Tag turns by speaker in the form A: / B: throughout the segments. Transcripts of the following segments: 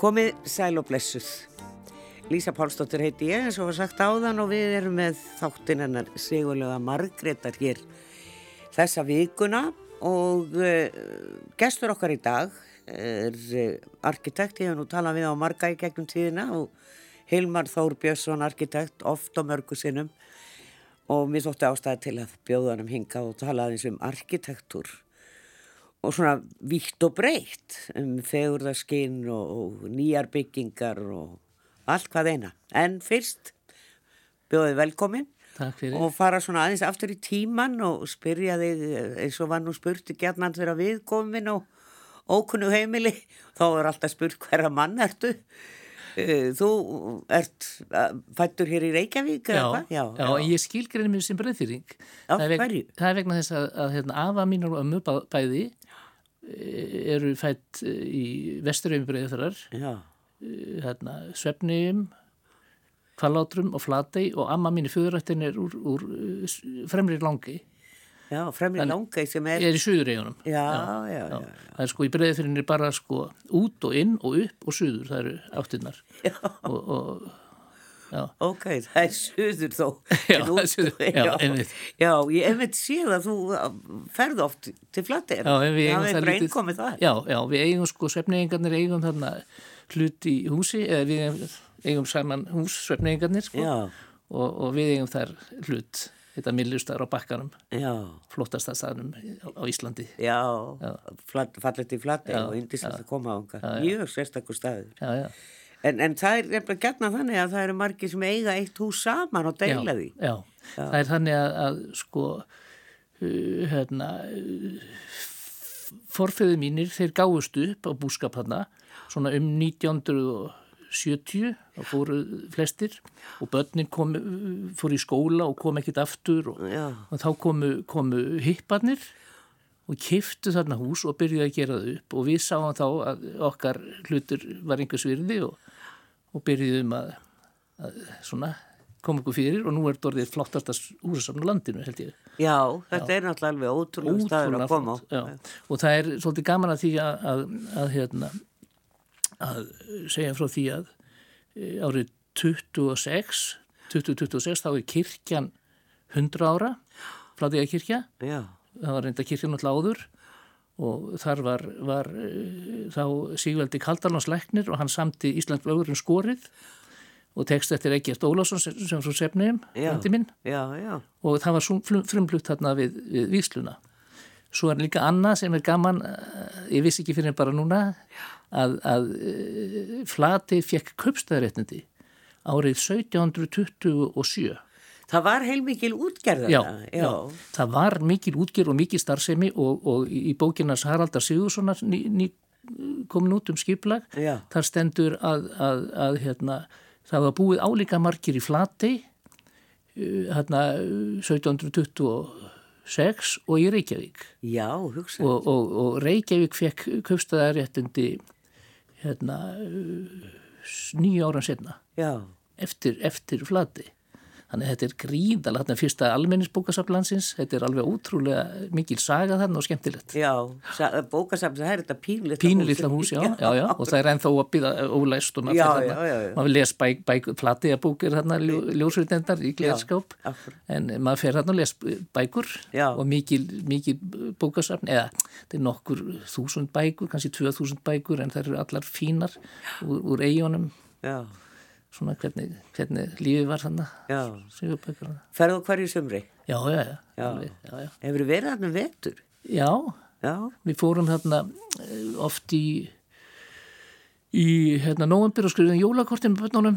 A: Komið sæl og blessuð. Lísa Pálsdóttir heiti ég eins og var sagt áðan og við erum með þáttinn hennar Sigurlega Margreðar hér þessa vikuna og uh, gestur okkar í dag er uh, arkitekt, ég hef nú talað við á marga í gegnum tíðina og Hilmar Þór Björnsson arkitekt oft á mörgu sinnum og mér þótti ástæði til að bjóðanum hinga og talaði eins um arkitektúr og svona vítt og breytt um fegurðaskinn og, og nýjar byggingar og allt hvað eina. En fyrst bjóðið velkomin
B: Takk fyrir.
A: og fara svona aðeins aftur í tíman og spyrja þig eh, eins og var nú spurt gerðan þegar við komin og ókunnu heimili, þá er alltaf spurt hverja mann ertu. Eh, Þú ert eh, fæddur hér í Reykjavík eða
B: Já,
A: hvað?
B: já, ég skilgreinu mér sem breyðfyrring.
A: Af
B: það er veg-
A: hverju?
B: Það er vegna þess að, að hérna, afa mínur og ömmu bá- bæði eh, eru fætt eh, í vesturöfum breyðfyrrar,
A: já.
B: hérna, svefniðum, kvalátrum og flatei og amma mín í fjöðurættin er úr, úr eh, s- fremri langi,
A: Já, fremri langi sem er,
B: er í suðureyjunum.
A: já, já, já.
B: Það er sko í breyðfyrrinni bara sko út og inn og upp og suður, það eru áttinnar. Já. Og, og já.
A: Ok, það er suður þó.
B: Já,
A: en
B: það er suður, já, einmitt.
A: Já, ég einmitt sé að þú eh, ferð oft til flattir.
B: Já, en við eigum
A: það
B: það
A: lítið. Það komið það.
B: Já, já, við eigum sko, svefneigingarnir eigum þarna hlut í húsi, eða við eigum, eigum saman hús, svefneigingarnir, sko.
A: Já.
B: Og, og við eigum þar hlut, þetta millustar á bakkanum,
A: Já,
B: flottasta staðnum á, á Íslandi.
A: já, flat, fallið til flattir og indislegt að koma á unga. Mjög sérstakur staður.
B: Já, já.
A: En, en það er nefnilega gætna þannig að það eru margir sem eiga eitt hús saman og deila því.
B: Já, það er þannig að, að sko, uh, hérna, forfeyðu mínir, þeir gáðust upp á búskap hana, svona um 1970 og fóru flestir og börnin kom, uh, fóru í skóla og kom ekkit aftur og,
A: Já.
B: og þá komu, komu hipparnir og kiftu þarna hús og byrjuði að gera það upp og við sáum þá að okkar hlutur var einhvers virði og, og byrjuðum að, að svona koma okkur fyrir og nú er þetta orðið flottasta húsasamn á landinu held ég.
A: Já, þetta er náttúrulega alveg ótrúlega staður
B: Ótrúlega
A: að koma á.
B: flott, já. Og það er svolítið gaman að því að, að, að, hérna, að segja frá því að e, árið 26, 2026 þá er kirkjan 100 ára, flatiða kirkja
A: Já,
B: það var reynda kirkjan alltaf áður og þar var, var eh, þá Sigveldi Kaldalánslæknir og hann samti Íslands lögurinn um skorið og tekst eftir Egert Ólásson sem, sem svo sefniðum,
A: já,
B: hundi minn
A: já, já,
B: og það var sum- flum- frumlutt þarna við, við vísluna. Svo er líka annað sem er gaman, eh, ég vissi ekki fyrir en bara núna, að, að eh, Flati fekk köpstæðaréttindi árið 1727
A: það var heilmikil útgerðana.
B: já, já. það var mikil útgjör og mikil starfsemi og, og í bókinas Haraldar Sigurssonar ný, ný, komin út um skiplag
A: Já.
B: þar stendur að, að, að hérna, það var búið álíka margir í Flatey uh, hérna, uh, 1726 og í Reykjavík
A: Já, hugsa.
B: og, og, og Reykjavík fekk köfstæðaréttindi hérna, nýja ára setna
A: Já,
B: eftir, eftir flati. Þannig að þetta er gríðalega, þetta er fyrsta almenningsbókasaflansins, þetta er alveg ótrúlega mikil saga þarna og skemmtilegt.
A: Já, sa- bókasafn, það er þetta pínlita
B: Pínulitla hús, já, já, já, og það er ennþá að býða ólæst og maður
A: Já,
B: fer
A: já, já, já.
B: maður les bæk, bæk, platiða bókir þarna, ljó, ljósveitendar í glerskáp,
A: akkurat.
B: en maður fer þarna og les bækur
A: Já.
B: og mikil, mikil bókasafn, eða þetta er nokkur þúsund bækur, kannski tvö þúsund bækur, en það eru allar fínar úr, úr eigunum,
A: Já,
B: svona hvernig, hvernig lífið var þarna,
A: já,
B: sigurbækur þarna.
A: ferðu á hverju sumri?
B: Já, já, já.
A: Já.
B: Alveg, já, já.
A: Hefur verið þarna um vetur?
B: já,
A: Já,
B: við fórum þarna eh, oft í, í hérna, november og skrifum jólakortin með bönnunum,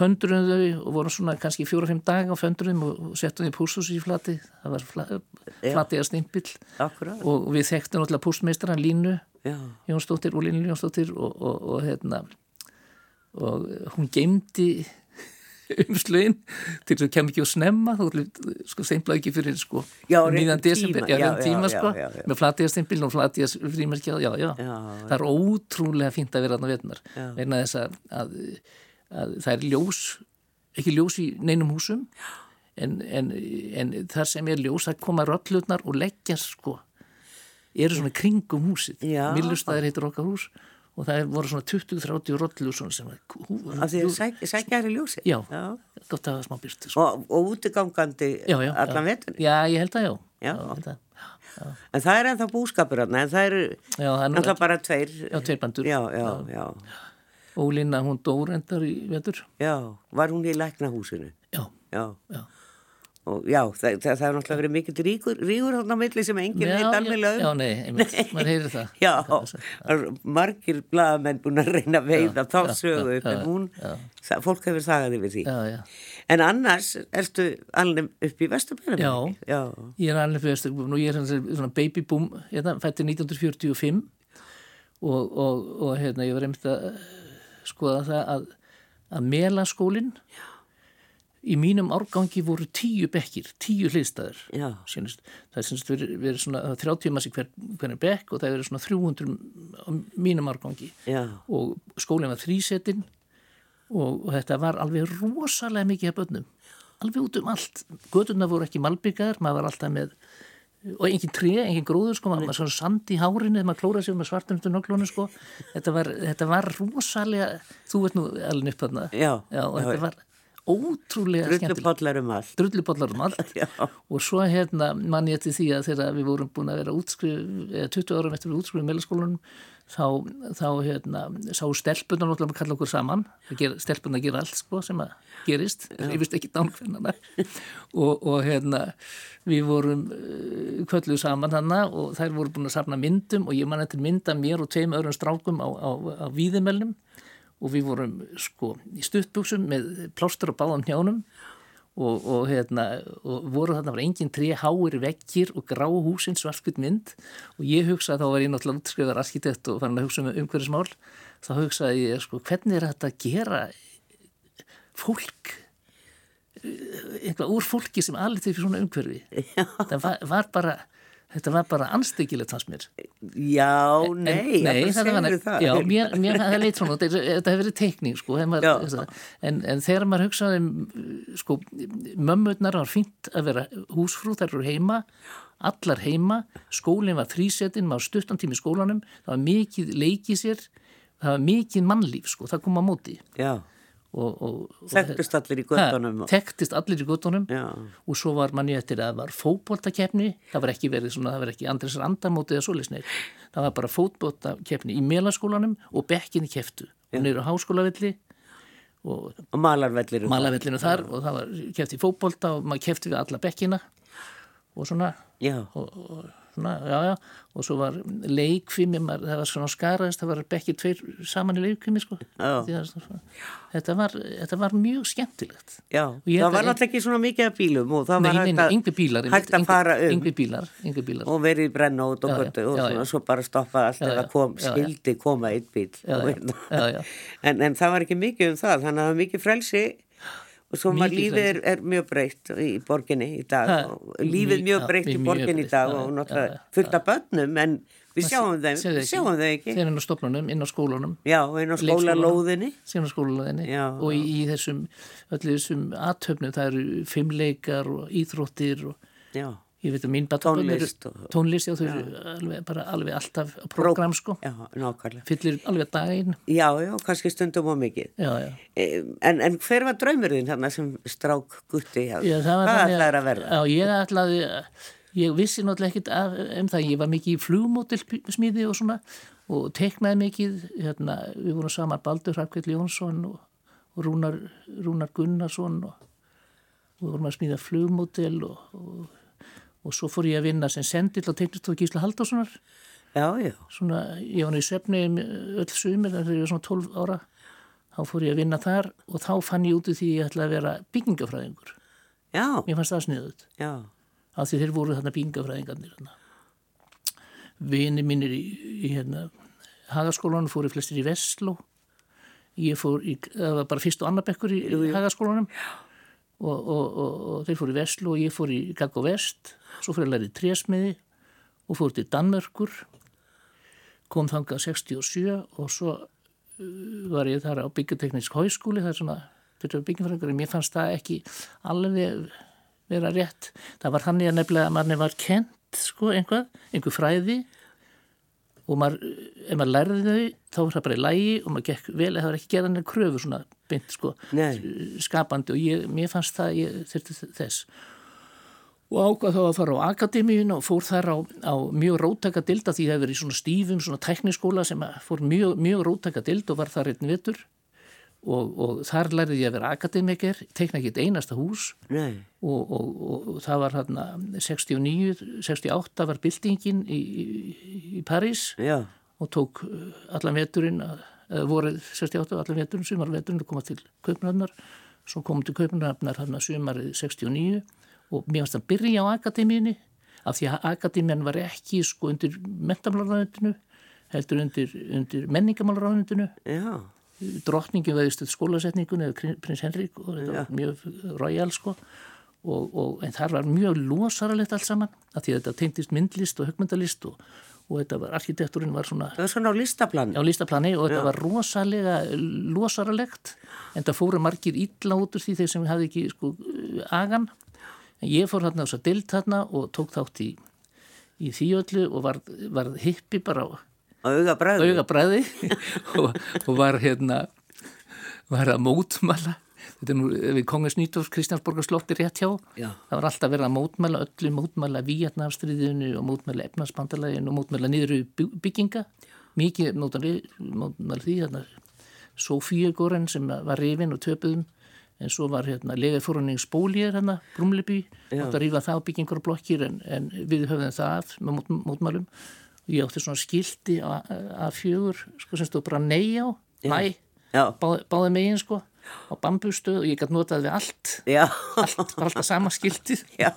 B: föndurum þau og vorum svona kannski fjóra-fimm daga á föndurum og, og settum þau pústhús í flati, það var fla, flatiða snimpill
A: akkurat,
B: og við þekktum alltaf pústmeistran Línu
A: já,
B: Jónsdóttir og Línu Jónsdóttir og, og, og hérna og hún geymdi umslögin til þess að kem ekki og snemma þá ætlum- sko seimlaði ekki fyrir sko
A: Já,
B: um miðjan
A: réttum
B: desember,
A: tíma,
B: já,
A: já,
B: réttum tíma
A: já,
B: sko
A: já, já.
B: með flatiðastimpilin og flatiðas frímerkjað já, já,
A: Já,
B: það er ótrúlega fínt að vera þarna vetnar, vegna þess að, að, að það er ljós ekki ljós í neinum húsum en, en, en þar sem er ljós það koma röllutnar og leggja sko eru svona kringum húsið
A: Já.
B: millustæðir heitur okkar hús og og það er- voru svona 20-30 rollu svona sem var
A: af því að sæk, sækja er í ljósi
B: Já. gott að hafa smá byrtu sko.
A: og, og útigangandi
B: já, já,
A: allan
B: já.
A: veturinn
B: já, ég held að já,
A: Já.
B: ég held að.
A: en það er ennþá búskapur þarna en það eru
B: Já, það er nú-
A: ennþá bara tveir
B: Já, tveir bændur.
A: já, já, já,
B: Ólína hún dórendar í vetur
A: já, var hún í læknahúsinu
B: já,
A: já
B: Já.
A: og já, það, það, það er náttúrulega verið mikill ríkur ríkur þarna á milli sem enginn
B: já,
A: veit
B: já,
A: alveg
B: já,
A: um
B: nei, einmitt, maður heyrir það
A: já, það eru margir blaðamenn búin að reyna að veiða þá
B: já,
A: sögu upp
B: já,
A: en
B: já,
A: hún,
B: já.
A: það, fólk hefur sagðið yfir því
B: já, já
A: en annars ertu alveg upp í Vesturbænum
B: Já.
A: ekki? já,
B: Ég er alveg fyrir Vesturbúm og ég er svona- svona babyboom, hérna, fætti 1945 og, og, og hérna, ég var einmitt að eh, skoða það að, að melaskólinn í mínum árgangi voru tíu bekkir, tíu hliðstæður.
A: já,
B: Sýnist, það er sýnist verið, verið svona það er 30 massi hver, hvernig bekk og það eru svona 300 á mínum árgangi
A: já
B: og skólinn var þrísettinn og, og þetta var alveg rosalega mikið af börnum, alveg út um allt gödurna voru ekki malbyggar, maður var alltaf með og engin tré, engin gróður sko, maður var svona sand í hárinu þegar maður klóraði sig með svartum undir noklónu sko þetta var, þetta var rosalega þú veist nú alveg upp þarna
A: Já,
B: og
A: já, já.
B: þetta var ótrúlega skemmtilegt
A: Rullupollar um allt.
B: drullubollar um allt
A: Já.
B: og svo hérna mann ég til því að þegar við vorum búin að vera útskrif, eða 20 árum eftir við útskrifum meðlaskólanum, þá, þá hérna, sá stelpunna náttúrulega að kalla okkur saman, stelpunna gera allt sko, sem að gerist, ég vist ekki dánkvennana og, og hérna við vorum uh, kölluð saman hana og þær voru búin að safna myndum og ég man eftir mynda mér og tveim öðrum strákum á, á, á víðimelnum og við vorum sko í stuttbuksum með plástur á báðum hjánum og, og, hérna, og voru þarna var engin tré háir vekkir og grá húsin svartkvitt mynd og ég hugsaði þá var ég náttúrulega útskrifar arkitekt og fann að hugsa um umhverfismál þá hugsaði ég sko hvernig er þetta að gera fólk eh, eitthvað úr fólki sem alveg til fyrir svona umhverfi þetta var, var bara þetta var bara anstekilegt hans mér
A: Já, nei,
B: nei,
A: nei
B: þetta var
A: það, það.
B: Já, mér, mér það leitt svona, út, þetta þetta hefur verið teikning sko, en,
A: Já.
B: maður, þess að- en, en þegar maður hugsaði um, sko, mömmurnar var fínt að vera húsfrú, þær eru heima allar heima, skólinn var þrísettinn, maður stuttan tími í skólanum það var mikið leikið sér það var mikið mannlíf, sko, það kom á móti
A: Já,
B: og, og, og
A: þekktust allir í göttunum.
B: Ha, Þekktist allir í göttunum
A: Já.
B: og svo var manni eftir að það var fótboltakefni, það var ekki verið svona, það var ekki Andrés Randamóti eða svoleisnei, það var bara fótboltakefni í melaskólanum og bekkinni keftu og niður á háskólavelli og
A: Og malarvellir. um
B: malavellinu þar og það var kefti í fótbolta og maður kefti við alla bekkina og svona
A: Já,
B: og, og svona, já, já, og svo var leikfimi, maður, það var svona skaraðist, það var bekkir tveir saman í leikfimi, sko.
A: Já.
B: Því það var svona- Þetta var, þetta var mjög skemmtilegt.
A: já.
B: ég held
A: Það var
B: að-
A: náttúrulega ekki svona mikið af bílum og það
B: Nei,
A: var
B: ég meina, yngvi bílar. einmitt,
A: hægt að
B: yngvi-
A: fara um
B: Yngvi bílar, yngvi bílar.
A: og verið í brennót og
B: Já, já,
A: göttu og
B: já,
A: svona,
B: já.
A: svo bara stoppa allt
B: Já,
A: eða
B: já,
A: kom,
B: já, já.
A: skildi koma einn bíl.
B: Já, já, já, já.
A: hérna. En, en það var ekki mikið um það, þannig að það var mikið frelsi og svo maður
B: Mikið
A: lífið er, er mjög breytt í borginni í dag
B: Ha,
A: og lífið
B: mjög-
A: mjög
B: já,
A: breytt í
B: mjög
A: borginni í
B: breytt,
A: dag
B: já,
A: og
B: já, já,
A: náttúrulega
B: já.
A: fullt af börnum en við sjáum þeim,
B: Sér
A: við sjáum þeim ekki.
B: Þeir inn á stofnunum, inn á skólunum.
A: Já, einn á
B: leikskólanum,
A: skólalóðinni.
B: síðan á skólaðinni
A: Já,
B: og í, í þessum öllu þessum aðtöfnum það eru fimmleikar og íþróttir og
A: Já,
B: ég veit að mín badaböll eru-
A: Tónlist og-
B: tónlist já, þau eru alveg, bara alveg alltaf á program sko,
A: já, nákvæmlega.
B: fyllir alveg daginn
A: Já, já, kannski stundum á mikið.
B: já, já
A: Em, En, en hver var draumur þinn þarna sem strák gutti hjá?
B: Já, það var
A: Hvað
B: þannig
A: ætlaðir að verða?
B: Já, ég ætlaði, ég vissi náttúrulega ekkit af, um það, ég var mikið í flugmótilsmíði og svona og teknaði mikið, hérna, við vorum saman Baldur Hrafkveld Jónsson og, og Rúnar, Rúnar Gunnarsson og og við vorum að smíða flugmótil og, og, og svo fór ég að vinna sem sendill á teknistóð Gísla Halldórssonar
A: Já, já,
B: svona, ég var nú í svefni um öll sumir þegar ég var svona 12 ára þá fór ég að vinna þar og þá fann ég út í því að ég ætlaði að vera byggingafræðingur
A: já,
B: mér fannst það sniðut
A: já,
B: af því þeir voru þarna bíngafræðingarnir þarna. Vini mínir í, í hérna, hagaskólanum fóru flestir í Vestló. Ég fór í, það var bara fyrst og annar bekkur í jú, hagaskólanum og, og, og, og þeir fóru í Vestló og ég fór í Gaggo Vest, svo fyrir að læri trésmiði og fór til Danmörkur, kom þangað 67 og svo uh, var ég þar á byggjarteknisk háskúli, það er svona fyrir byggjumfræðingar, mér fannst það ekki alveg vera rétt. Það var þannig að nefnilega að manni var kent, sko, einhvað, einhver fræði og maður, ef maður lærði þau þá var það bara í lægi og maður gekk vel eða það var ekki gerðan en kröfu svona beint sko
A: Nei.
B: skapandi og ég, mér fannst það ég þurfti þess og ákvað þá að fara á akademíun og fór þar á, á mjög rótaka dilda því það hefur verið í svona stífum, svona tekniskóla sem að fór mjög, mjög rótaka dild og var þar einn vetur og, og þar lærði ég að vera akademiker tekna ekki eitt einasta hús
A: Nei.
B: og, og, og, og það var hérna 69, 68 var byltingin í, í, í París
A: Já.
B: og tók uh, allan veturinn að- eh, eða voruð 68 allan veturinn, sumarveturinn að koma til Kaupnafnar svo komum til Kaupnafnar hérna sumarið 69 og mér fannst að byrja á akademíunni af því að akademíun var ekki sko undir mentamálraðundinu heldur undir, undir menningamálraðundinu
A: Já.
B: drottningin veðist skólasetningun eða krin- prins Henrik og þetta var mjög royal sko og, og, en þar var mjög losaralegt allt saman af því að þetta tengdist myndlist og högmyndalist og, og þetta var, arkitekturinn var svona
A: Það var svona á listaplan.
B: á listaplani og þetta var rosalega losaralegt en það fóru margir illa út úr því þeir sem hafði ekki sko agan en ég fór hérna þess að dild hérna og tók þátt í, í því öllu og var, var hippi bara á
A: Á augabræðu.
B: augabræði og, og var hérna var að mótmæla þetta er nú við Kongens Nýtofs Kristjánsborgar slótti rétt hjá
A: Já.
B: það var alltaf verið að mótmæla öllu mótmæla Víatnafstriðinu og mótmæla efnarsbandalæginu og mótmæla niðru bygginga mikið mótmæla, mótmæla því hérna Sofíugóren sem var rifin og töpuðum en svo var hérna legafórunnings bólýjar hérna, Brumleby átt að rífa það á byggingar og blokkir en, en við höfðum það af með mót, mótmælum og ég átti svona skildi að fjögur sko sem stóð bara nei á, næ
A: Já.
B: báð, báði megin sko á bambustöð og ég gæti notað við allt
A: Já.
B: allt, bara alltaf sama skildið
A: Já.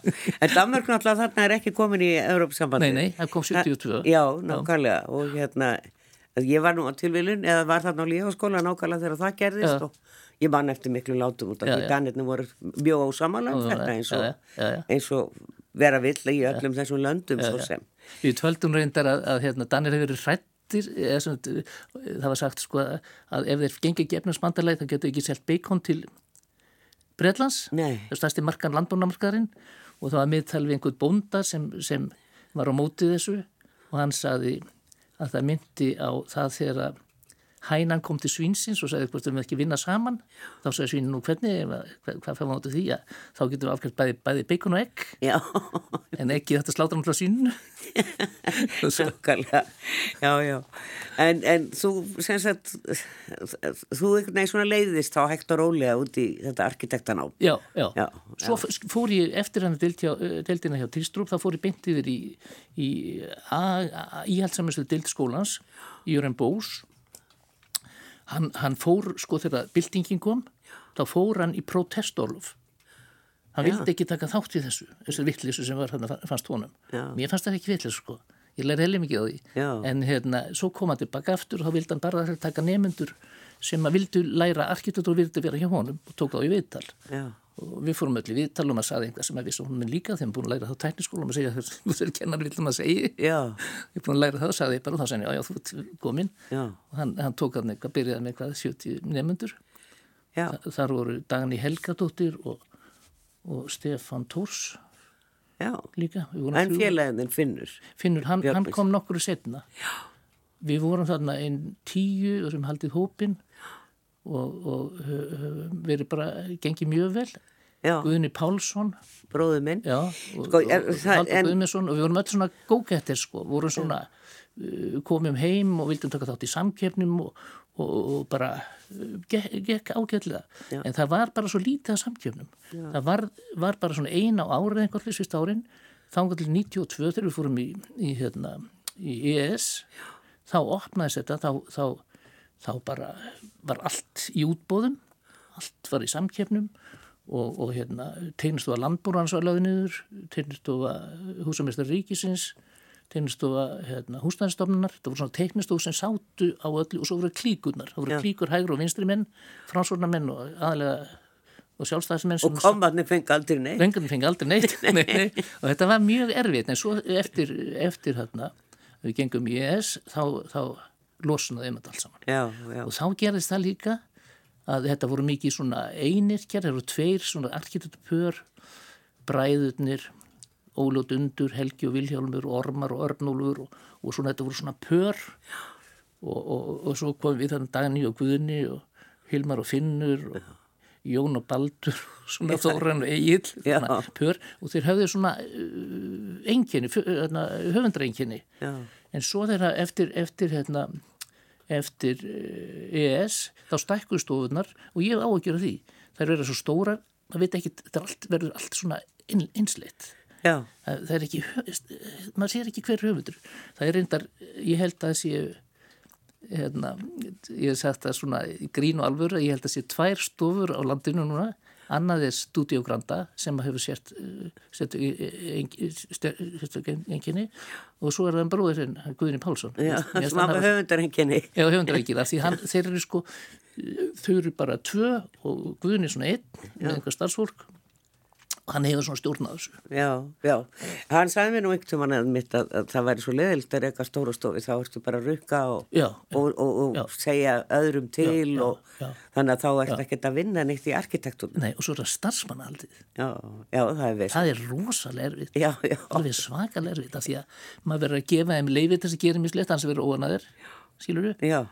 A: En Danmörk náttúrulega þarna er ekki komin í Európsambandi.
B: nei, nei, það kom 72
A: Já, nákvæmlega. Og hérna, að ég var nú á tilvílun eða var þarna á lífaskóla nákvæmlega þegar það gerðist
B: Já.
A: og ég man eftir miklu látum út af
B: Já,
A: því
B: já.
A: Danirni voru mjög ósamalega
B: Já,
A: þetta
B: já,
A: eins og,
B: já, já, já.
A: eins og vera vill í öllum þessum löndum svo sem.
B: Við tvöldum reyndar að, að hérna, Danir hefur verið hrættir eða, sem, það var sagt sko að, að ef þeir gengi ekki efnarsmandarlega þá getur ekki selt bacon til Breitlands
A: Nei.
B: það stærsti markan landbúnamarkaðurinn og það var miðtal við einhvern bónda sem, sem var á mótið þessu og hann saði að það myndi á það þegar að hænan kom til svínsins og sagði hvort við ekki vinna saman þá sagði svínin nú hvernig, ef að- hvað, hvað fæmum áttu því að þá getum við afkvæmt bæði, bæði bacon og egg
A: Já,
B: en ekki þetta slátra hann frá síninu
A: nákvæmlega. Já, já. En, en þú, sem sagt, þú einhvern veginn svona leiðist þá hægt og rólega út í þetta arkitektanám.
B: já, já,
A: Já,
B: svo f- fór ég eftir hann deildina hjá Tistrup, þá fór ég beint yfir í, í íhaldsamenslu deildskólans í Jörn Bós hann, hann fór, sko þegar byltingin kom, þá fór hann í protestorlof hann vildi ekki taka þátt í þessu, þessu vittlísu sem var hann fannst honum,
A: Já.
B: mér fannst það ekki vittlísu sko, ég lærði heilig mikið á því
A: Já.
B: en hérna, svo kom hann tilbaka aftur og þá vildi hann bara taka nefnendur sem að vildu læra arkitektur og vildi vera hjá honum og tók þá í viðtal
A: Já.
B: og við fórum öll í viðtal og maður saði einhvað sem að vissi hún er líka þeim búin að læra það á tækniskóla og maður segja þú þeir kennar vilja maður segja
A: Já.
B: ég er búin að læra það og saði ég bara og þá sagði hann já já þú ert komin
A: Já.
B: og hann, hann tók hann eitthvað byrjaði með eitthvað 70 nefnendur
A: Já,
B: þar voru Dagni Helgadóttir og, og Stefan Tórs
A: já.
B: líka Við vorum
A: En
B: þrjú.
A: félaginn finnur.
B: Finnur, hann,
A: Björn
B: hann
A: Björns.
B: kom nokkru setna. Við vorum þarna einn tíu sem haldið hópin og, og hö- hö- verið bara, gengið mjög vel.
A: Já,
B: Guðni Pálsson,
A: bróðu minn.
B: já, og,
A: Sko,
B: og,
A: er-
B: og
A: það-
B: Haldur
A: en-
B: Guðmesson og við vorum öll svona gókettir sko, vorum svona, uh, komum heim og vildum taka þátt í samkeppnum og, og, og bara uh, gekk, gekk ágætlega. En það var bara svo lítið af samkeppnum. Það var, var bara svona eina á árið einhvern veginn sýst árin, þangar til 92 þegar við fórum í, í, hérna, í ES, þá opnaðis þetta, þá, þá, þá bara var allt í útbóðum, allt var í samkeppnum og, og hérna, tegnistofa landbúrans var lögð niður, tegnistofa húsamestari ríkisins, tegnistofa hérna, húsnæðistofnunar, það voru svona tegnistofu sem sátu á öllu og svo voru klíkurnar, það voru klíkur hægur og vinstri menn, fransvornar menn og aðalega og sjálfstæðismenn sem
A: Kombarnir fengi aldrei neitt.
B: Vengarnir fengi aldrei neitt nei, nei. og þetta var mjög erfitt en svo eftir, eftir hérna við gengum í ES þá, þá losnaði um þetta allt saman
A: Já, já.
B: og þá gerðist það líka að þetta voru mikið svona einirkjar, það voru tveir svona arkitekturpör, bræðurnir Óljótt Undur, Helgi og Vilhjálmur og Ormar og Örnúlfur og, og svona þetta voru svona pör og, og, og svo kom við þannig Dani og Guðni og Hilmar og Finnur og Jón og Baldur og svona Þóran og Egil
A: Já.
B: svona pör og þeir höfðu svona uh, enginni, höfundrenginni
A: Já.
B: en svo þeirra eftir, eftir hérna eftir eh, EES þá stækkuðu stofunar og ég hef áhyggjur af því þær verða svo stórar maður veit ekki, þetta er allt, verður allt svona inn, einsleitt
A: já,
B: það, það er ekki, hö- maður sér ekki hver höfundur það er reyndar, ég held að það sé hérna, ég hef sagt það svona í grín og alvöru, ég held að sé tvær stofur á landinu núna, annað er Studio Granda sem hefur sért eh, enginni og svo er það en bróðurinn Guðni Pálsson
A: já,
B: Mér finnst
A: sem
B: hann
A: hafa
B: hafa-
A: höfundar henginni.
B: Já, höfundar ekki það, því hann, þeir eru sko, þau eru bara tvö og Guðin er svona einn með einhver starfsfólk og hann hefur svona stjórn á þessu.
A: Já, já. Hann sagði mér nú einhvern tímann að mitt að, að það væri svo leðilt að reyka stóra stofi, þá ertu bara að rukka og,
B: Já,
A: og, og,
B: Já.
A: og segja öðrum til
B: já,
A: og
B: já.
A: þannig að þá ertu ekkert að vinna neitt í arkitektúrnum.
B: nei, og svo er það starfsmannahaldið.
A: Já, já, það er veist.
B: Það er rosalega erfitt,
A: Já, já,
B: alveg svakalega erfitt af því að maður verður að gefa þeim leifið þess að gera mislegt, hans verður óanaðir, skilur du?
A: já,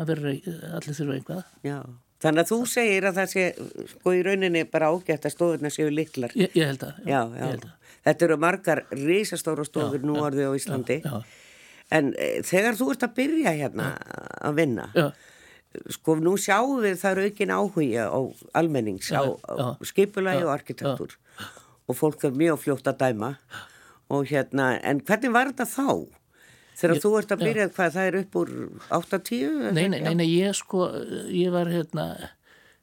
B: Maður verður, að- eh, allir þurfa einhvað.
A: já. Þannig að þú segir að það sé, sko í rauninni bara ágætt að stofurnar séu litlar.
B: Ég, ég held að,
A: Já,
B: ég
A: já.
B: held að.
A: Þetta eru margar risastóra stofur nú orðið á Íslandi.
B: já.
A: En e, þegar þú ert að byrja hérna að vinna,
B: Já,
A: sko nú sjáum við það er aukin áhugja á almennings á, á
B: já.
A: skipulagi og arkitektur og fólk er mjög fljótt að dæma og hérna, en hvernig var þetta þá? Þegar þú ert að byrja hvað það er upp úr 8-10?
B: nei, nei, nei, nei, ég sko, ég var hérna,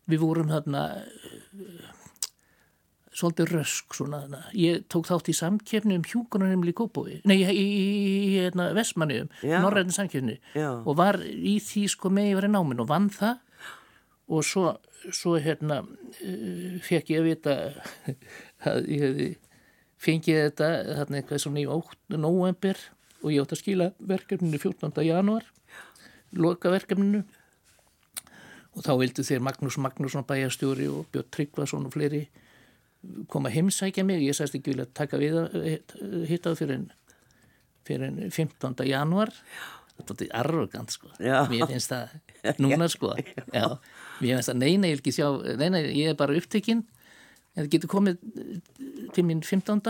B: við vorum hérna, svolítið rösk svona, hérna. ég tók þátt í samkefni um hjúkunarheimli í Kópói, nei, í, í, í hérna, Vestmanniðum,
A: Já.
B: norræðin samkefni
A: Já.
B: og var í því sko með ég var í náminu og vann það og svo, svo hérna uh, fekk ég að vita að ég hefði fengið þetta þarna eitthvað svona í ótt november og ég átt að skila verkefninu 14. januar loka verkefninu og þá vildu þeir Magnús Magnússon bæjarstjóri og Björn Tryggvason og fleiri koma að heimsækja mig ég sæst ekki vilja taka við að hitta það fyrir en, fyrir en 15. januar þetta er arrogant sko
A: Já.
B: mér finnst það núna sko já. mér finnst það neina ég vil ekki sjá neina ég er bara upptekinn en það getur komið eh, til mín 15.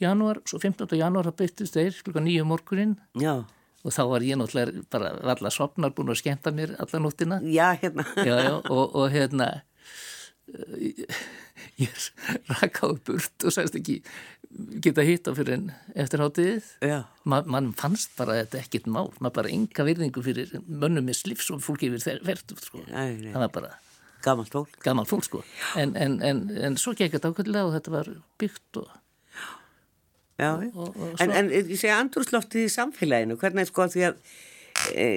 B: januar svo 15. januar það byrtist þeir klukka nýju morgunin
A: Já,
B: og þá var ég náttúrulega bara varla sopnar búin að skemmta mér alla nóttina
A: já, hérna,
B: já, já, og, og hérna eh, ég rakaði burt og sagðist ekki geta hitta fyrir en eftir hátíðið
A: já,
B: Ma, mann fannst bara þetta ekkert mál maður bara enga virðingu fyrir mönnum með slifs og fólki yfir þær verð sko.
A: Nei, nei.
B: það var bara
A: gammalt fólk.
B: gaman fólk sko. en, en, en, en svo gekk þetta ákveðlega og þetta var byggt og
A: Já, já. en, en ég segja andrúrsloftið í samfélaginu, hvernig sko því að e,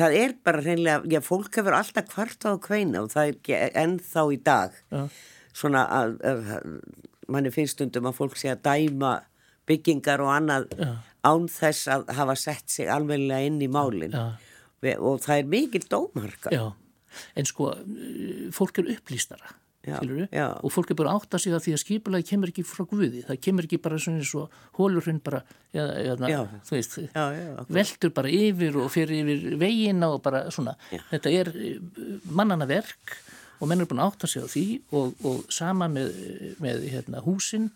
A: það er bara hreinlega, já fólk hefur alltaf kvart á kveina og það er ekki ennþá í dag
B: Já.
A: svona að, að manni finnst stundum að fólk sé að dæma byggingar og annað án þess að hafa sett sig alveglega inn í málin
B: Já.
A: Ve- og það er mikil dómarka
B: Já, en sko, eh, fólk er upplýstara,
A: Já,
B: skilur við,
A: já.
B: og fólk er bara átt að sig að því að skipulagi kemur ekki frá Guði, það kemur ekki bara svona eins og hólurinn bara, já, já,
A: Já.
B: þú veist,
A: Já, já, akkurat.
B: veldur bara yfir og fer yfir veginna og bara svona, þetta er eh, mannana verk og menn er búin að átta sig á því og, og sama með, með hérna, húsin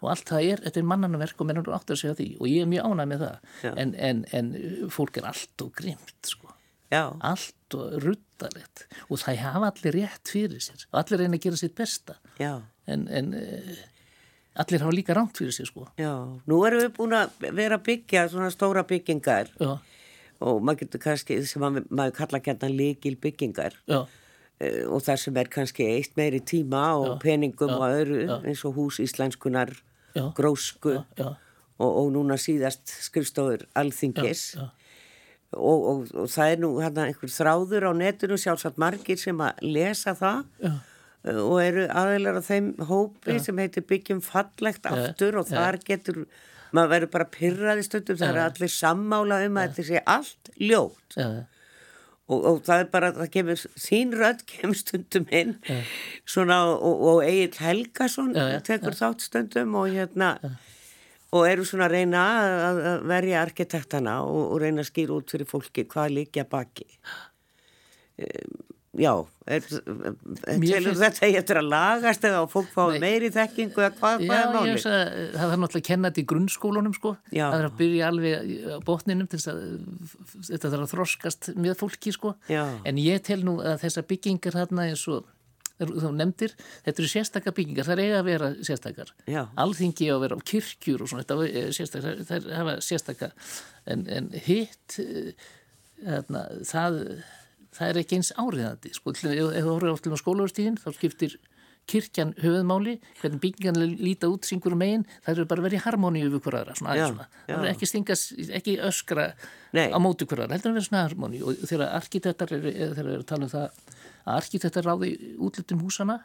B: og allt það er, þetta er mannana verk og menn er búin að átta sig á því og ég er mjög ánað með það, en, en, en eh, fólk er allt og grimt, sko
A: Já,
B: allt og ruttalegt og það hafa allir rétt fyrir sér og allir reyna að gera sitt besta
A: já.
B: en, en eh, allir hafa líka rámt fyrir sér sko
A: Já, nú erum við búin að vera að byggja svona stóra byggingar
B: já,
A: og maður getur kannski, sem maður, maður kalla gætna líkil byggingar
B: já,
A: eh, og það sem er kannski eitt meiri tíma og peningum og öðru eins og hús íslenskunar,
B: Já.
A: grósku
B: já,
A: Og, og núna síðast skrifstofur alþingis
B: já.
A: Og, og, og það er nú hérna einhver þráður á netinu sjálfsagt margir sem að lesa það
B: já,
A: og eru aðeinar á þeim hópi sem heitir byggjum fallegt aftur og þar getur, maður verður bara pyrraði stundum, það eru allir sammála um að þetta sé allt ljótt
B: já,
A: og, og það er bara, það kemur, þín rödd kemur stundum inn svona og, og Egil Helgason
B: Já, já,
A: tekur þátt stundum og hérna og eru svona að reyna að, að verja arkitektana og, og reyna að skýra út fyrir fólki hvað líkja baki um, já er,
B: Mér
A: telur
B: finnst-
A: þetta ég eftir að lagast eða að fólk fái meiri þekkingu eða hvað, hvað
B: Já,
A: er
B: ég
A: máli
B: veist að eh, það þarf náttúrulega að kenna þetta í grunnskólanum sko,
A: Já.
B: það þarf að byrja alveg á botninum til þess að þetta þarf að þroskast með fólki sko,
A: Já.
B: en ég tel nú að þessar byggingar þarna eins og þú nefndir, þetta eru sérstakar byggingar, það er eiga að vera sérstakar,
A: Já.
B: alþingi á að vera á kirkjur og svona, þetta eh, er sérstakar, það er hafa sérstakar, en, en hitt, eh, þarna, það, það er ekki eins áriðandi, sko, til- ef ef þú horfir átlum á skólaverstíðin, þá skiptir kirkjan höfuðmáli, hvernig byggingan líta út syngur megin, það eru bara að vera í harmoníu við hver aðra, svona
A: Já,
B: aðeins svona, það
A: já.
B: er ekki stingast, ekki öskra
A: Nei.
B: á móti hver aðra, heldur að vera svona harmoníu og þegar arkitektar eru, eða þegar eru að tala um það að arkitektar ráði útlutum húsana,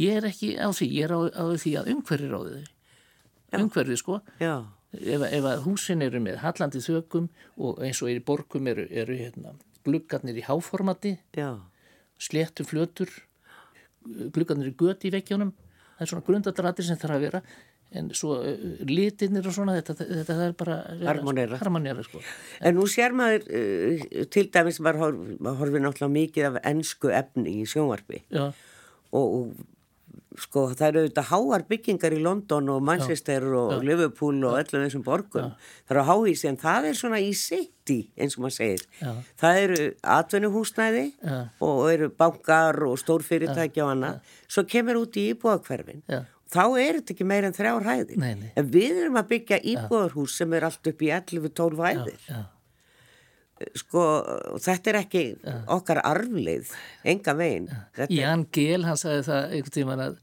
B: ég er ekki á því, ég er á, á því að umhverfi ráði þau, umhverfi sko,
A: já,
B: ef, ef að húsin eru með hallandi þökum og eins og er í borgum eru, eru hérna, gluggarnir í háformati,
A: já,
B: sléttu flötur, gluggarnir í göti í vekkjónum, það er svona grundadratir sem þarf að vera, en svo eh, litirnir og svona, þetta, þetta, það er bara...
A: Harmonera.
B: Harmonera, sko.
A: En nú sér maður, uh, til dæmis maður horfi, maður horfi náttúrulega mikið af ennsku efni í sjónvarpi
B: Já,
A: og, og sko það eru auðvitað háar byggingar í London og Manchester og Liverpool og öllum þessum borgum. Það eru háís en það er svona í city eins og maður segir.
B: Já.
A: Það eru atvinnuhúsnæði
B: Já.
A: og eru bankar og stórfyrirtæki og annað. Svo kemur út í íbúðakverfin.
B: Já.
A: Þá er þetta ekki meira en þrjár hæðir.
B: Nei, nei.
A: En við erum að byggja íbúðarhús sem er allt upp í 11-12 hæðir
B: já,
A: sko, þetta er ekki okkar arflið, enga veginn. Þetta,
B: Jan Gehl, hann sagði það einhvern tíman að,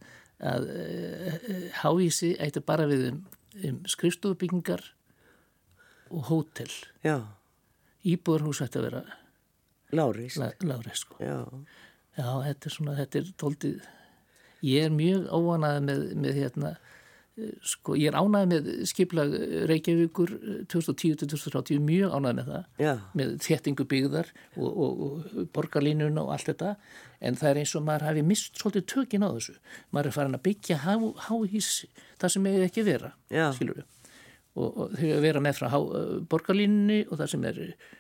B: að eh, háísi ætti bara við um, um skrifstofubyggingar og hótel.
A: já,
B: Íbúðarhús ætti að vera
A: Láris.
B: la- lágrið, sko.
A: Já,
B: Já, þetta er svona, þetta er tóldið, ég er mjög óanað með, með hérna, eh, sko, ég er ánað með skiplag Reykjavíkur eh, 2010-2030, mjög ánað með það,
A: Já.
B: með þéttingu byggðar og, og, og borgarlínuna og allt þetta, en það er eins og maður hafi mist svolítið tökin á þessu, maður er farin að byggja há, háhís, það sem hefur ekki vera,
A: Já.
B: skilur við. Og, og þau að vera með frá há, eh, borgarlínunni og það sem er, eh,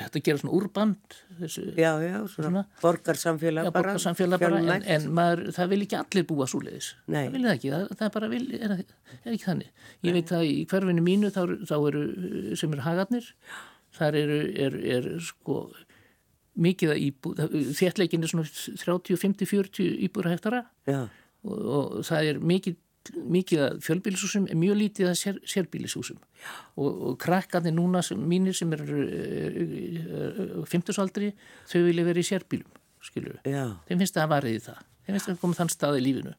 B: þetta gera svona úrband, þessu
A: já, já, svona,
B: Svona.
A: borgarsamfélag
B: Já,
A: bara.
B: borgarsamfélag bara, en,
A: fjölmennt.
B: en maður, það vil ekki allir búa svo leiðis.
A: Nei.
B: Það vil það ekki, það, það er bara vil, er, er ekki þannig. Ég veit að í hverfinu mínu þá, eru- þá eru, uh, sem eru hagarnir, þar eru, er, er sko mikið að íbúð, þéttleikin er svona 30, 50, 40 íbúður að hektara
A: Já,
B: og, og það er mikið, mikið að fjölbílishúsum en mjög lítið að sér, sérbílishúsum og, og krakkarnir núna sem, mínir sem eru eh, uh, uh, uh, 50 aldri, þau vilja vera í sérbílum skilur við
A: já,
B: þeim finnst það að varðið í það þeim finnst það að koma þann stað í lífinu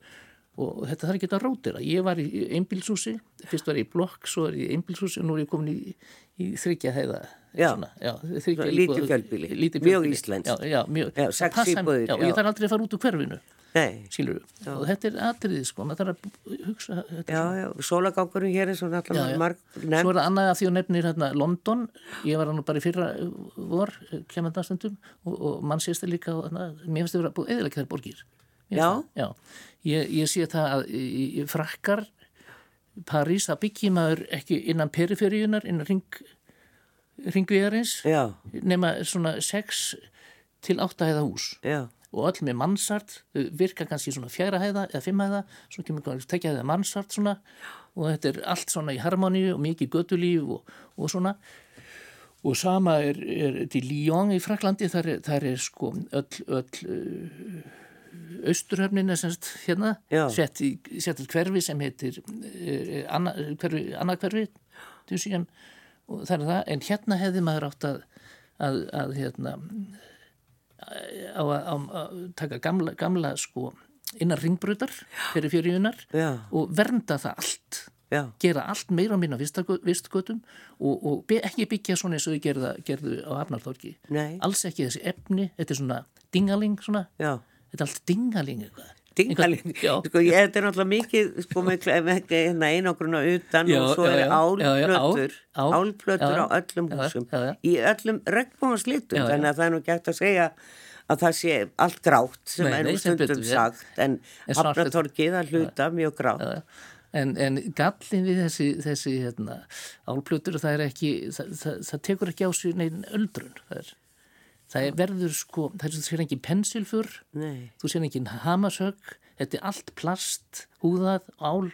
B: og þetta þarf ekki að rótira ég var í einbílshúsi, fyrst var ég í blokk svo er ég í einbílshúsi og nú er ég komin í, í þryggja heiða
A: Já.
B: já, þriggja
A: Lítið
B: íbúða-
A: fjölbýli.
B: lítið
A: Mjög
B: fjölbýli.
A: íslenskt.
B: já, já, mjög,
A: Já, sex
B: Það passar-
A: íbúðir,
B: já, og
A: já.
B: ég þarf aldrei að fara út úr hverfinu
A: nei,
B: skilur og þetta er atriðið sko, maður þarf að b- hugsa þetta.
A: já, já, sólagangurinn hér er svona
B: Já, já.
A: allavega marg,
B: Svo
A: nefn,
B: er það annað að því að nefnir hérna London, ég var hann nú bara í fyrra eh, vor, kemandastundum og, og mann sést það líka, og, na, mér finnst það vera búið eðilega þær borgir. Mér
A: Já.
B: finnst það, Já, ég, ég sé það að í, í frakkar París, það byggir maður ekki innan periferíunar, innan ring, ringviðarins,
A: já,
B: nema svona 6 til 8 hæða hús
A: já,
B: og öll með mannsart þau virka kannski svona fjæra hæða eða fimm hæða svo kemur kannski tekja hæða mannsart svona og þetta er allt svona í harmoníu og mikið göttulíf og, og svona og sama er, er til Lyon í Fraklandi þar er, þar er sko öll, öll austurhöfnin er semst hérna
A: Já.
B: sett í, sett í hverfi sem heitir uh, anna, hverfi, annað hverfi Dusíum, og það er það, en hérna hefði maður átt að, að, að hérna á að, á að taka gamla, gamla sko innan ringbröðar fyrir fjöriunar
A: Já.
B: og vernda það allt
A: já,
B: gera allt meira á minna vistgötum og, og be, ekki byggja svona eins og þau gerða, gerðu á Hafnartorki
A: Nei.
B: alls ekki þessi efni, þetta er svona dingaling svona,
A: já,
B: þetta er allt dingaling eitthvað
A: Tingalinn,
B: Já.
A: sko ég, þetta er náttúrulega mikið, sko með kle- með ekki hérna einogruna utan
B: Já,
A: og svo
B: já,
A: er
B: já. Já, já, ál-
A: álplötur,
B: ál-
A: álplötur
B: já,
A: á öllum
B: já,
A: húsum,
B: já, já.
A: í öllum regnbóðanslitum,
B: Já, já.
A: þannig að það er nú ekki hægt að segja að það sé allt grátt sem
B: Nei,
A: er
B: nei,
A: nú
B: sem betur
A: stundum
B: fer.
A: sagt, en
B: En svart-
A: hafnatorkið að hluta mjög grátt.
B: Já, já. En, en gallin við þessi, þessi hérna, álplötur, það er ekki, það, það, það tekur ekki á sig neginn öldrun. Það, er, það er verður sko, það er, þú sér engin pensilfur,
A: Nei.
B: þú sér engin hamasögg, þetta er allt plast, húðað, ál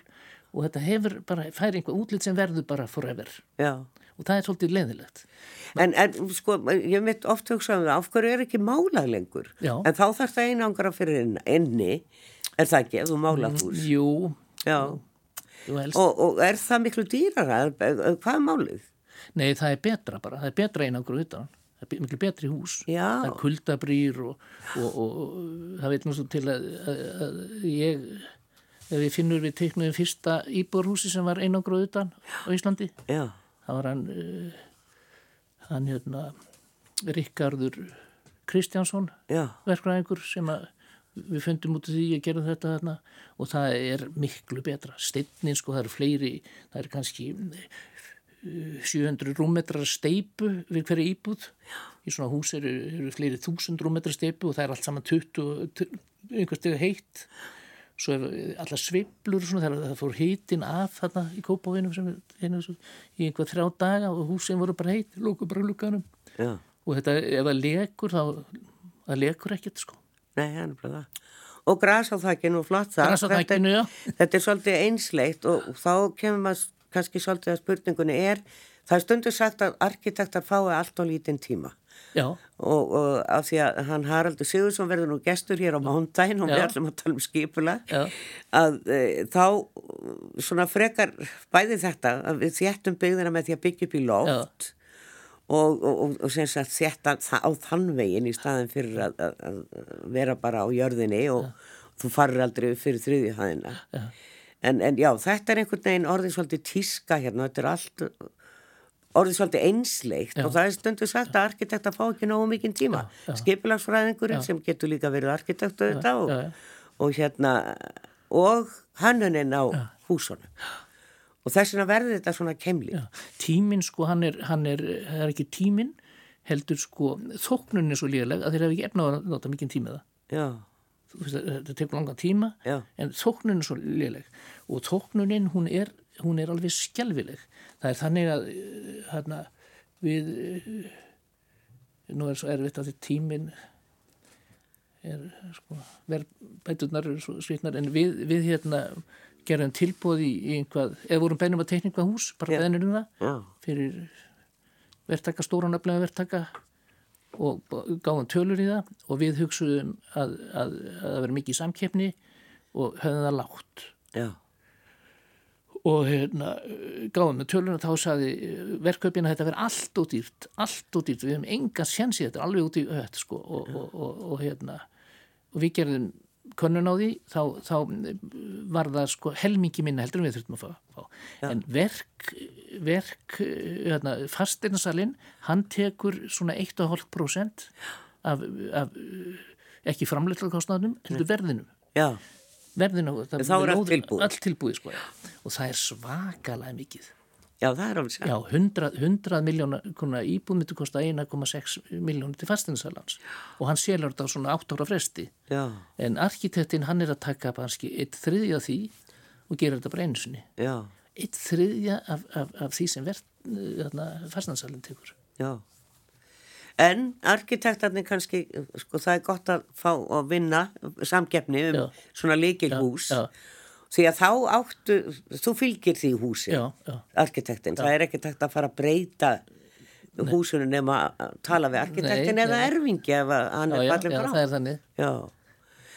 B: og þetta hefur bara, fær einhver útlit sem verður bara forever.
A: Já,
B: Og það er svolítið leiðilegt.
A: en, en sko, ég mitt oft hugsa um það, af hverju er ekki málað lengur?
B: Já.
A: En þá þarf það einangra fyrir inn- inni, er það ekki, ef þú
B: Mm.
A: málað hús?
B: Jú,
A: Já,
B: jú helst.
A: og, og er það miklu dýrara? Eh, Hvað er málið?
B: Nei, það er betra bara, það er betra einangur utan, það er be- miklu betri hús
A: Já.
B: það er kuldabrýr og, og, og, það veit nú svo til að, að, að ég ef við finnur við teiknum fyrsta íbúrhúsi sem var einangur utan á Íslandi
A: Já,
B: það var hann eh, hann hérna Rikkardur Kristjánsson
A: já,
B: verkræðingur sem að við fundum út af því að gera þetta þarna og það er miklu betra steinnin sko, það eru fleiri það eru kannski eh, 700 rúmmetrar steipu við hverju íbúð í svona hús eru, eru fleiri 1000 rúmmetrar steipu og það er allt saman 20 tu- einhvers stegu heitt svo er allar sveiflur og svona, það, það fór heitin af þarna í kópavinum sem, hérna, svo- í einhvað þrjá daga og húsin voru bara heitt, lóku bara lukkanum
A: já,
B: og þetta, ef það lekur þá, það lekur ekkert sko
A: nei, það er bara það. Og gras á þakkinu og flott það.
B: Gras á þakinu, já.
A: þetta, þetta er svolítið einsleitt og og þá kemur maður s- kannski svolítið að spurningunni er, það er stundu sagt að arkitektar fái allt á lítinn tíma.
B: já,
A: og, og af því að hann Haraldur Sigursson verður nú gestur hér á mándaginn og við
B: Já.
A: ætlum að tala um skipula
B: Já.
A: að e, þá uh, svona frekar bæði þetta að við þéttum byggðina með því að byggja upp í loft og, og, og, og sem sagt þétta þa- á þann veginn í staðin fyrir að, að, að vera bara á jörðinni og þú farir aldrei upp fyrir þriðju hæðina en, en já, þetta er einhvern veginn orðið svolítið tíska hérna, þetta er allt orðið svolítið einsleikt og það er stundu sagt að arkitekta fá ekki nógu mikinn tíma. Skipilagsfræðingurinn sem getur líka verið arkitektu þetta og,
B: já, já.
A: og hérna og hannuninn á húsunum. Og þess vegna verður þetta svona kemli.
B: já. tíminn sko, hann er, hann er, það er ekki tíminn heldur sko, þóknunin er svo líðileg að þeir hafa ekki efna að nota mikinn tíma í það
A: Já,
B: Þú veist, þetta tekur langan tíma
A: Já.
B: en þóknunin er svo léleg og þóknunin hún er, hún er alveg skelvileg það er þannig að eh, hérna, við eh, nú er svo erfitt að því tímin er sko verðbæturnar eru svo svitnar en við, við hérna gerum tilbúð í, í einhvað eða vorum beinum að teikninga hús bara beinir um það
A: já,
B: fyrir verktaka, stóran aflega verktaka og b- gáðum tölur í það og við hugsuðum að, að, að það veri mikið samkeppni og höfðum það lágt
A: já,
B: og hérna, eh, gáðum með tölur og þá saði eh, verkkaupin að þetta veri allt og dýrt, allt og dýrt við hefum enga sjensi þetta, alveg út í öll sko, og, og, og, og hérna og við gerðum könnun á því þá, þá eh, var það sko helmingi minna heldur en við þurftum að fá, fá. en verk, verk eh, hérna, fasteinasalinn hann tekur svona 1,5% af, af eh, ekki framleitlakostnaðnum heldur verðinum
A: já,
B: verðinu það,
A: Þá er allt
B: lóð-
A: tilbúið.
B: allt tilbúið sko, já. og það er svakalega mikið
A: já, það er alveg sér.
B: já, 100, 100 miljóna íbúð myndi kosta 1,6 miljónu til fastinsalans og hann selur þetta á svona 8 ára fresti
A: Já,
B: en arkitektinn hann er að taka kannski eitt þriðja af því og gera þetta bara einu sinni
A: já,
B: eitt þriðja af, af, af því sem verð, þarna, fastinsalinn tekur
A: já. En arkitektarnir kannski, sko, það er gott að fá að vinna samkeppni um
B: Já.
A: svona líkilhús.
B: já,
A: Því að þá áttu, þú fylgir því húsi,
B: Já, já.
A: arkitektin. Það er ekki takt að fara að breyta húsinu nema að tala við arkitektin
B: Nei,
A: eða erfingi ef að hann
B: já,
A: er
B: já,
A: fallin
B: já
A: frá.
B: það er þannig
A: Já.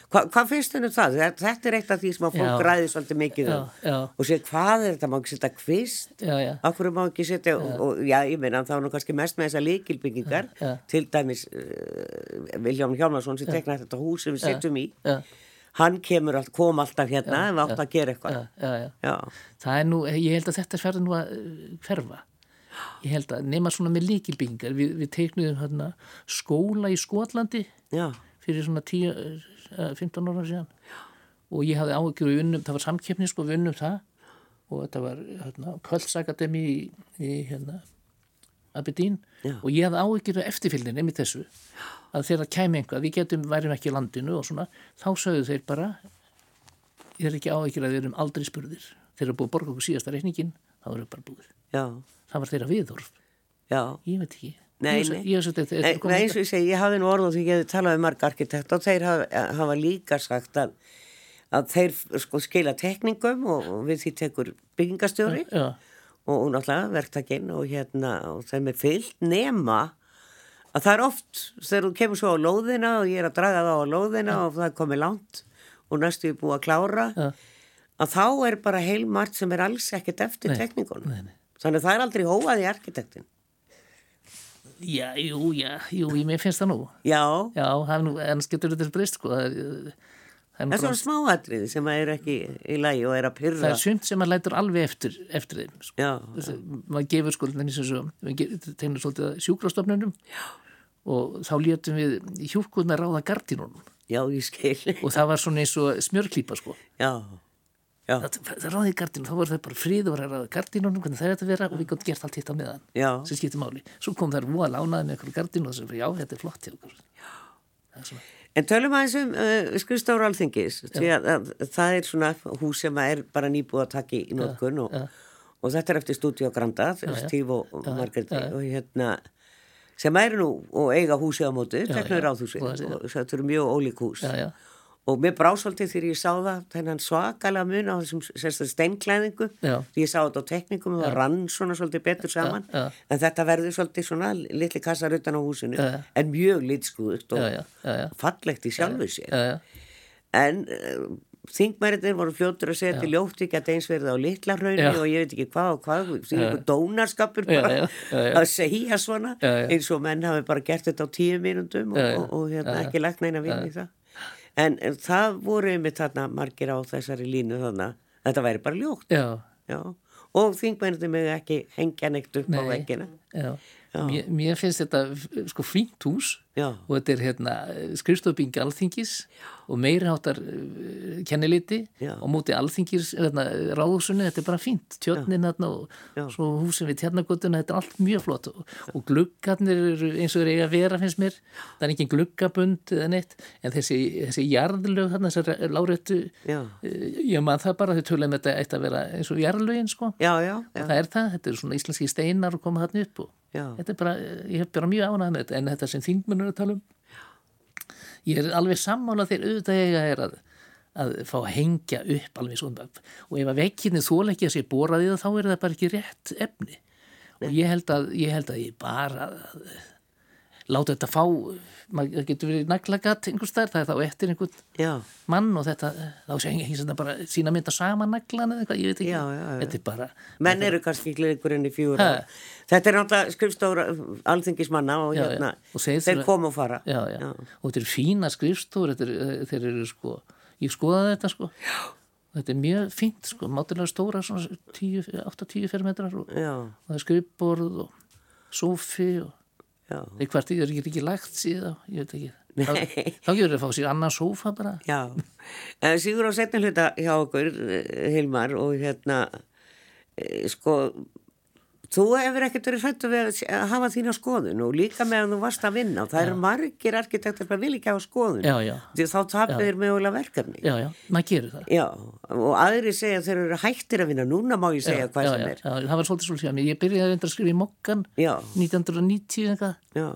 A: Hva, hvað finnst þennu það? Þetta- Þetta er eitt af því sem að fólk
B: Já.
A: ræði svolítið mikið um.
B: Já, já.
A: Og sé hvað er þetta, má ekki setja kvist?
B: já, já,
A: Akkur má ekki setja, og, og já, ég meina þá er nú kannski mest með þessar líkilbyggingar,
B: Já, já.
A: til dæmis uh, Viljón Hjálmarsson sem teknaði þetta hús sem við setjum í,
B: já,
A: hann kemur allt, kom alltaf hérna ef átt að gera eitthvað.
B: já, já, já.
A: Já,
B: það er nú, ég held að þetta færði nú að eh, hverfa ég held að nema svona með líkilbyggingar við, við teiknuðum hérna skóla í Skotlandi
A: já,
B: fyrir svona 10, eh, 15 ára síðan og ég hafði áhyggjur og unnum, það var samkeppni sko, við unnum það og þetta var hérna, Pölsakademi í, í hérna, Abedín
A: Já.
B: og ég hafði áhyggjur af eftirfylgnin einmitt þessu að þegar það kæmi einhvað, við getum, værim ekki í landinu og svona, þá sögðu þeir bara ég er ekki áhyggjur að við erum aldrei spurðir þeir eru búið að borga okkur síðasta reikningin þá erum við bara búið,
A: já,
B: það var þeirra viðhorf
A: já.
B: ég veit ekki
A: Nei,
B: ég,
A: nei.
B: ég, ég, ég,
A: Nei,
B: ég,
A: nei, eins og ég segi, ég hafði nú orð og því ég hefði talað við marg arkitekt og þeir hafa, hafa líka sagt að, að þeir sko skila tekningum og, og við því tekur byggingastjóri
B: já,
A: og, og náttúrulega verktakinn og hérna og þeim er fyllt nema að það er oft þegar þú kemur svo á lóðina og ég er að draga það á lóðina og það er komið langt og næstu ég búið að klára
B: Já.
A: að þá er bara heilmart sem er alls ekkert eftir
B: Nei,
A: tekningunum
B: nei, nei.
A: þannig að það er aldrei hóað í arkitektin
B: já, jú, já, jú, ég mér finnst það nú
A: já,
B: Já, það er nú, en getur þetta breyst sko. Það er, það
A: það
B: er, nú
A: er svona
B: bara-
A: smáatriði sem að eru ekki í lagi og er að
B: það
A: pyrra
B: er sumt sem maður lætur alveg eftir, eftir þeim. Sko.
A: já,
B: Þessi- Maður gefur sko, nefnir sem svo, við tegnum svolítið að sjúkrastofnunum og þá létum við hjúkkuðna ráða gardínunum
A: já, ég skil
B: og það var svona eins og smjörklípa sko.
A: já, já,
B: Það, það ráði gardínunum, þá voru það bara frið og var að ráða gardínunum, hvernig það er þetta að vera og við gott gert allt hitt á meðan
A: já,
B: sem skiptir máli. Svo kom þær voða lánaði með einhverju gardínu og þessum, já, þetta er flott hjá okkur. Það er svona,
A: en tölum aðeins um uh, skrifstóra alþingis því að, að, það er svona hús sem að er bara nýbúið að taka í notkun og, og þetta er eftir Studio Granda Steve og ja, Margréti og hérna sem eru nú og eiga húsi á móti, teknur ráðhúsi og þetta eru mjög ólík hús
B: já, já,
A: og mér brá svolítið þegar ég sá það þennan svakalega mun á þessum sérstaklega steinklæðingu
B: Já.
A: því ég sá þetta á teknikum og það rann svona svolítið betur saman
B: já.
A: en þetta verður svolítið svona litli kassar utan á húsinu
B: Já, já.
A: en mjög litskuðugt og
B: já, já, já, já,
A: fallegt í sjálfu sér
B: já, já.
A: en uh, þingmæriðin voru fljótur að segja til ljótt ekki að eins verði á litla hraunni
B: Já.
A: og ég veit ekki hvað og hvað því einhver dónarskapur
B: Já,
A: bara
B: já, já, já.
A: að segja svona
B: Já, já.
A: eins og menn hafi bara gert þetta á tíu mínundum og, og, og hérna, ekki lagt neina vinn í það en, en það voru einmitt þarna margir á þessari línu þarna þetta væri bara ljótt
B: já.
A: já. og þingmæriðin með ekki hengja neitt upp á
B: Nei.
A: veggina
B: Já. Mér, mér finnst þetta f- sko fínt hús
A: Já.
B: og þetta er hérna skrifstofbingi alþingis og meiri háttar kenniliti
A: Já.
B: og móti alþingis hérna, ráðhúsunni, þetta er bara fínt tjörnin hérna og svo húsin við tjarnagötuna, þetta er allt mjög flott og, og gluggarnir eru eins og þeir eiga að vera finnst mér, það er engin gluggabund eða neitt, en þessi, þessi jarðlög þarna, þessar eh, láréttu eh,
A: já,
B: ég man það bara, þau töluðum þetta eitt að vera eins og jarðlögin sko
A: já, já,
B: og
A: já.
B: það er það, þetta eru svona íslenski steinar og koma þarna upp og
A: Já.
B: þetta er bara, eh, ég hef bara mjög ánað með þetta en þetta sem þingmennur að tala um ég er alveg sammála þegar auðvitað eiga er að, að fá að hengja upp alveg svona og ef að vekkinni þóleikja sér boraði það þá er það bara ekki rétt efni og ég held að ég, held að ég bara að, láta þetta fá maður það getur verið naglagat einhvers þar það er þá eftir einhvern
A: já.
B: mann og þetta þá sé ekki sem þetta bara sína mynda saman naglan eða eitthvað, ég veit ekki
A: Já, já, já.
B: þetta er bara,
A: menn eru kannski ekki lengur enn í fjúra þetta er náttúrulega skrifstóra alþingismanna og
B: Já, já.
A: hérna
B: Og segir
A: þeir
B: þurfa-
A: koma og fara
B: já, já. og þetta eru fína skrifstúr þetta er, þeir eru sko ég skoðaði þetta sko já. þetta er mjög fínt sko, mátilega stóra 8-10 fermetrar og,
A: Já,
B: og það er skrifborð og sofi og
A: já,
B: þeir hvert ég er ekki, ekki lagt síðan ég veit ekki,
A: Nei.
B: þá, þá gjörður að fá sér annan sofa bara
A: já. En Sigur á setni hluta hjá okkur eh, Hilmar og hérna eh, sko þú hefur ekkert verið hrættu við að s- að hafa þína skoðun og líka meðan þú varst að vinna það eru margir arkitektur sem vil ekki hafa skoðun
B: já, já,
A: því þá tapir þér mögulega verkefni
B: já, já, maður gerir það
A: Já, og aðri segja þeir eru hættir að vinna núna má ég segja hvað
B: já,
A: sem
B: já,
A: er
B: já, það var svolítið svolítið hjá mér ég byrjaði reyndar að skrifa í mokkan
A: Já.
B: 1990 eitthvað
A: Já,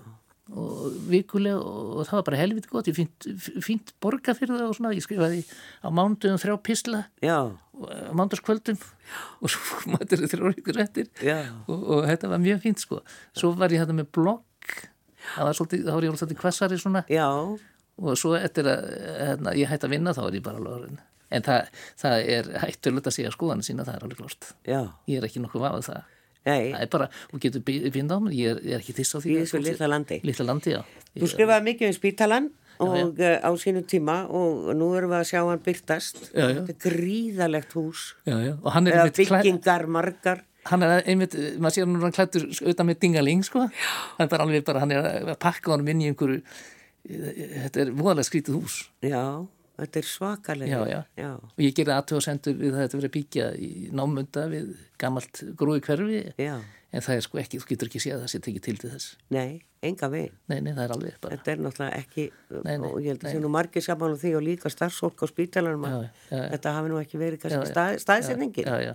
B: og vikulega og það var bara helviti gott ég fínt, fínt borga fyrir það og svona ég skrifaði á mándum þrjá pisla
A: já,
B: og eh, á mándagskvöldum og svo mættur þið þrjá ykkur eftir
A: já.
B: og, og þetta var mjög fínt sko svo var ég þetta með blogg það var svolítið, þá var ég alveg svolítið kvassari svona
A: Já,
B: og svo eftir að hérna, ég hætti að vinna þá er ég bara alveg orðin en það, það er hættulegt að segja skoðan sína það er alveg klart
A: já,
B: ég er ekki nokkuð vafað það
A: nei,
B: það er bara, og getur vinda á mér ég er, ég er ekki þess á því
A: Í
B: að
A: þessu
B: fólk sé-
A: litla landi.
B: litla landi, já
A: þú skrifaði mikið um spítalan og já, á sínu tíma og nú erum við að sjá hann byrtast,
B: Já, já.
A: þetta er gríðalegt hús,
B: Já, já, og hann er
A: eða
B: einmitt klæ...
A: byggingar margar,
B: hann er einmitt, maður sér hann hann klættur auðvitað með dingaling, sko hann er bara alveg bara, hann er að pakka honum inn í einhverju þetta er voðalega skrítið hús
A: já, Þetta er svakalega.
B: Já, já. Og ég gerði aðtöðsendur við það að þetta verið að byggja í námunda við gamalt grúi hverfi.
A: Já.
B: En það er sko ekki, þú getur ekki séð að það sé tekið til til þess.
A: Nei, enga veginn.
B: Nei, nei, það er alveg bara.
A: Þetta er náttúrulega ekki,
B: Nei, nei,
A: og ég held að
B: nei,
A: sé nú margir saman á því og líka starfsólk á spítalanum að
B: Já, já, já.
A: þetta hafi nú ekki verið
B: Já,
A: kannski
B: já.
A: stað, staðsetningin.
B: Já, já.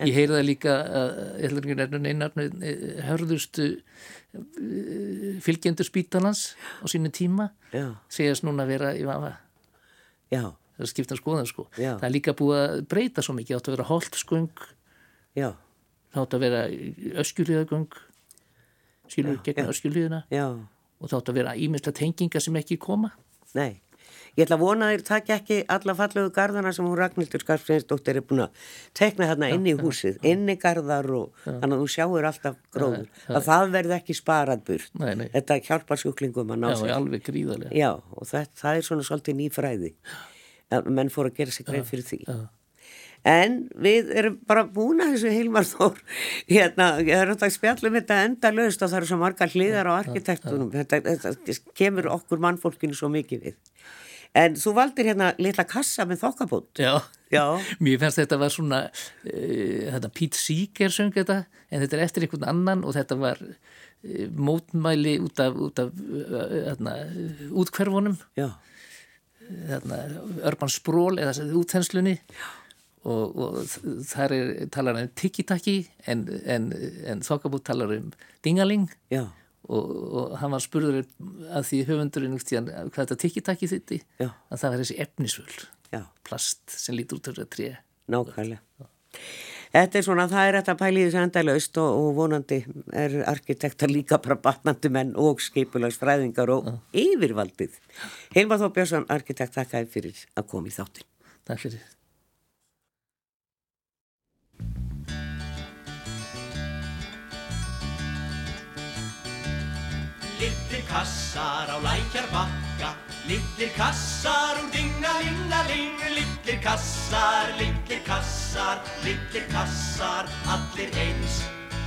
B: Ég heyrði það líka að ég ætla ekki að nefna neinarnu hörðustu eh, fylgjendur spítalans á sínu tíma
A: Já.
B: segjast núna að vera í vafa.
A: já,
B: Það er skipta skoðan sko.
A: Já.
B: Það er líka búið að breyta svo mikið. Það átt að vera holtskung,
A: já,
B: það átt að vera öskjulíðagöng, skilur gegn öskjulíðina
A: já,
B: og það átt að vera ímyndla tenginga sem ekki koma.
A: nei. Ég ætla að vona að þér takja ekki alla fallegu garðana sem hún Ragnhildur Skarpsveinsdóttir er búin að tekna þarna inn í húsið, inn í garðar og þannig að þú sjáur alltaf gróður. Að það verði ekki sparað burt.
B: Nei, nei.
A: Þetta hjálpar sjúklingum að ná
B: Já,
A: sér.
B: alveg gríðarlega.
A: Já, og það, það er svona svolítið nýfræði að menn fóru að gera sér grein fyrir því. En við erum bara búin að þessu Hilmar Þór, hérna, ég er alltaf að spjalla um þetta enda lögst og það eru svo margar hliðar á arkitektunum, þetta, þetta kemur okkur mannfólkinu svo mikið við. En þú valdir hérna litla kassa með þokkabót.
B: Já.
A: Já,
B: Mér fannst þetta var svona, uh, þetta Pete Seeger söng þetta, en þetta er eftir einhvern annan og þetta var uh, mótmæli út af, út af uh, hérna, útkverfunum,
A: já,
B: hérna, Urban Sprawl eða þessi útþenslunni og, og þ- þar er talar um tiki-taki en, en, en þokkabútt talar um dingaling
A: já,
B: og, og hann var spurður að því höfundurinn út í hann hvað þetta tiki-taki þitti,
A: Já.
B: að það var þessi efnisvöld,
A: já,
B: plast sem lítur út af þetta tréa.
A: nákvæmlega. Þetta er svona, það er þetta pælið þessu enda lögst og, og vonandi er arkitektar líka bara batnandi menn og skipulags fræðingar og yfirvaldið. Hilmar Þór Björnsson, arkitekt, þakkaði fyrir að koma í þáttin.
B: Takk fyrir.
C: Littir kassar á lækjarbakka Littir kassar úr dingalingaling Littir kassar, littir kassar, littir kassar Allir eins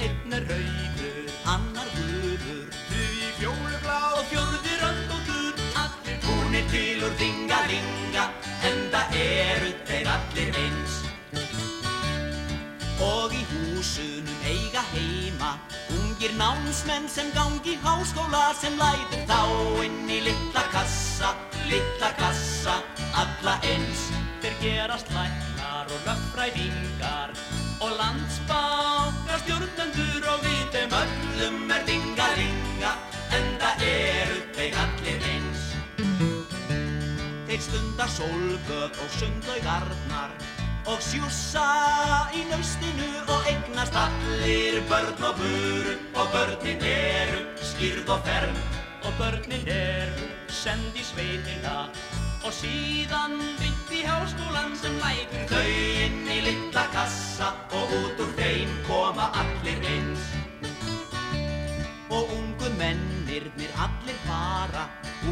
C: Einn er rauður, annar gulur Þrjú í fjólublá og fjórði röndóttur Allir búnir til úr dingalinga Enda eru þeir allir eins og í húsunum eiga heima Ungir námsmenn sem gangi háskóla sem lætur þá inn í litla kassa, litla kassa, alla eins Þeir gerast læknar og löffræðingar og landsbáka stjórnendur og við þeim öllum er dingalinga en það eru þeir allir eins Þeir stunda sólböð og sundlaugarnar og sjússa í nöstinu og eignast allir börn og buru og börnin eru skýrð og ferm og börnin eru send í sveitina og síðan bytt í háskólan sem lætur þau inn í litla kassa og út úr þeim koma allir eins og ungu mennirnir allir fara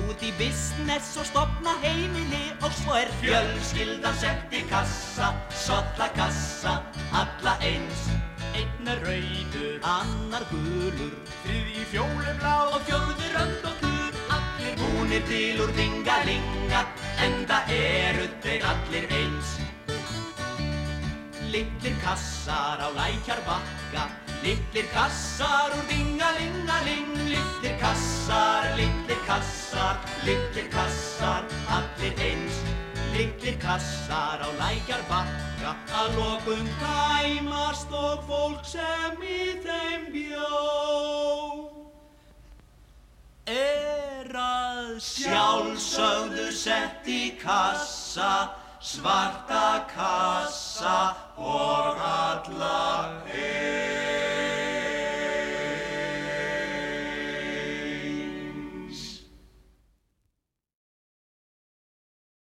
C: út í business og stopna heimili og svo er fjölskyldan sett í kassa, solla kassa, alla eins. Einn er rauður, annar gulur, þriði fjólublá og fjörður önd og gul. Allir búnir til úr dingalinga, en það eru þeir allir eins. Littir kassar á lækjarbakka Littir kassar úr dingalingaling Littir kassar, littir kassar, littir kassar Allir eins Littir kassar á lækjarbakka Að lokum tæmast og fólk sem í þeim bjó er að sjálfsögðu sett í kassa, svarta kassa og alla einn.